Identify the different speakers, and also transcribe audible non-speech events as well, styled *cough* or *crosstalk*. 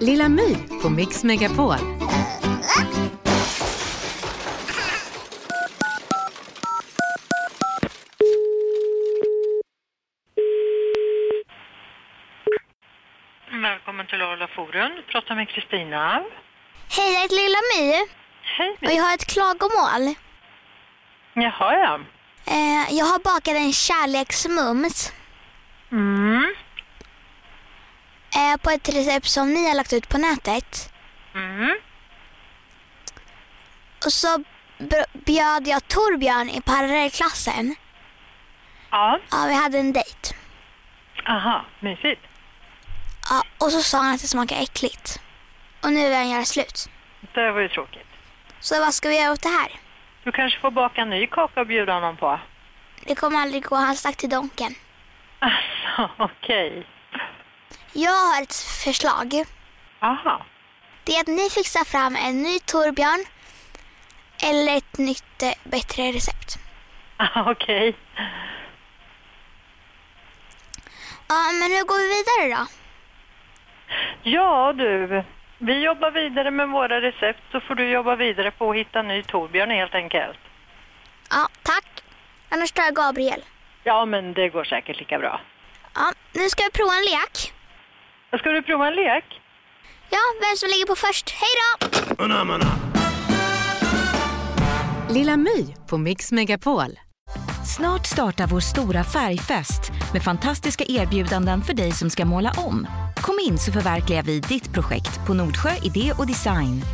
Speaker 1: Lilla My på Mix Megapol.
Speaker 2: Välkommen till Arla Forum. Du pratar med Kristina.
Speaker 3: Hej, jag heter Lilla My
Speaker 2: Hej.
Speaker 3: och jag har ett klagomål.
Speaker 2: Jaha, ja.
Speaker 3: Eh, jag har bakat en kärleksmums
Speaker 2: Mm.
Speaker 3: eh, på ett recept som ni har lagt ut på nätet.
Speaker 2: Mm.
Speaker 3: Och så br- bjöd jag Torbjörn i parallellklassen.
Speaker 2: Ja.
Speaker 3: Ja, vi hade en dejt.
Speaker 2: Aha, mysigt.
Speaker 3: Ja, och så sa han att det smakar äckligt. Och nu vill han göra slut.
Speaker 2: Det var ju tråkigt.
Speaker 3: Så vad ska vi göra åt det här?
Speaker 2: Du kanske får baka en ny kaka och bjuda honom på.
Speaker 3: Det kommer aldrig gå, han stack till donken.
Speaker 2: Alltså, okej.
Speaker 3: Jag har ett förslag.
Speaker 2: Aha. *laughs*
Speaker 3: Det är att ni fixar fram en ny Torbjörn eller ett nytt eh, bättre recept.
Speaker 2: Ah, Okej.
Speaker 3: Ja, men hur går vi vidare då?
Speaker 2: Ja, du. Vi jobbar vidare med våra recept så får du jobba vidare på att hitta en ny Torbjörn helt enkelt.
Speaker 3: Ja, tack. Annars tar jag Gabriel.
Speaker 2: Ja, men det går säkert lika bra.
Speaker 3: Ja, nu ska vi prova en lek.
Speaker 2: Ska du prova en lek?
Speaker 3: Ja, vem som ligger på först. Hej då!
Speaker 1: Lilla My på Mix Megapol.
Speaker 4: Snart startar vår stora färgfest med fantastiska erbjudanden för dig som ska måla om. Kom in så förverkligar vi ditt projekt på Nordsjö Idé och Design.